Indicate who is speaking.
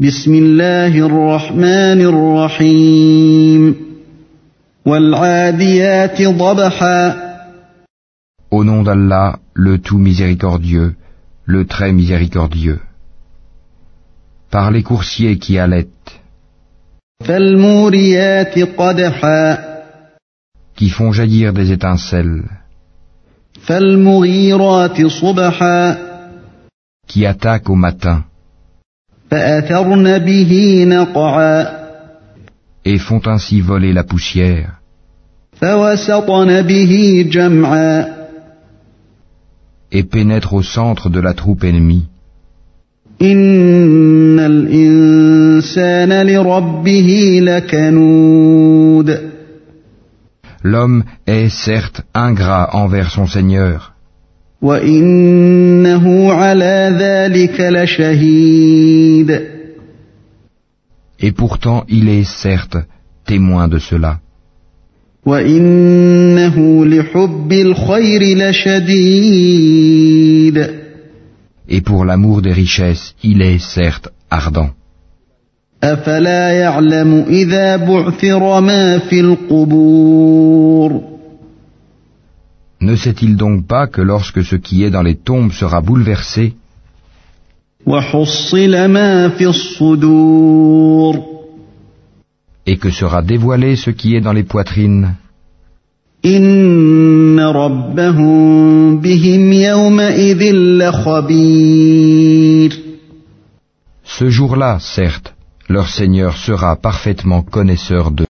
Speaker 1: بسم الله الرحمن الرحيم والعاديات ضبحا
Speaker 2: Au nom d'Allah, le tout miséricordieux, le très miséricordieux. Par les coursiers qui allaitent,
Speaker 1: فالموريات قدحا
Speaker 2: qui font jaillir des étincelles,
Speaker 1: فالمغيرات صبحا
Speaker 2: qui attaquent au matin,
Speaker 1: فأثرن به نقعا
Speaker 2: et font ainsi voler la poussière,
Speaker 1: فوسطن به جمعا
Speaker 2: et pénètrent au centre de la troupe ennemie.
Speaker 1: إن الإنسان لربه لكنود
Speaker 2: L'homme est certes ingrat envers son Seigneur,
Speaker 1: وإنه على ذلك لشهيد
Speaker 2: et pourtant il est certes témoin de cela,
Speaker 1: وإنه لحب الخير لشديد
Speaker 2: et pour l'amour des richesses il est certes ardent.
Speaker 1: أفلا يعلم إذا بعثر ما في القبور
Speaker 2: Ne sait-il donc pas que lorsque ce qui est dans les tombes sera bouleversé,
Speaker 1: وحصل ما في الصدور
Speaker 2: et que sera dévoilé ce qui est dans les poitrines,
Speaker 1: إن ربهم بهم يومئذ لخبير
Speaker 2: ce jour-là, certes, leur Seigneur sera parfaitement connaisseur d'eux.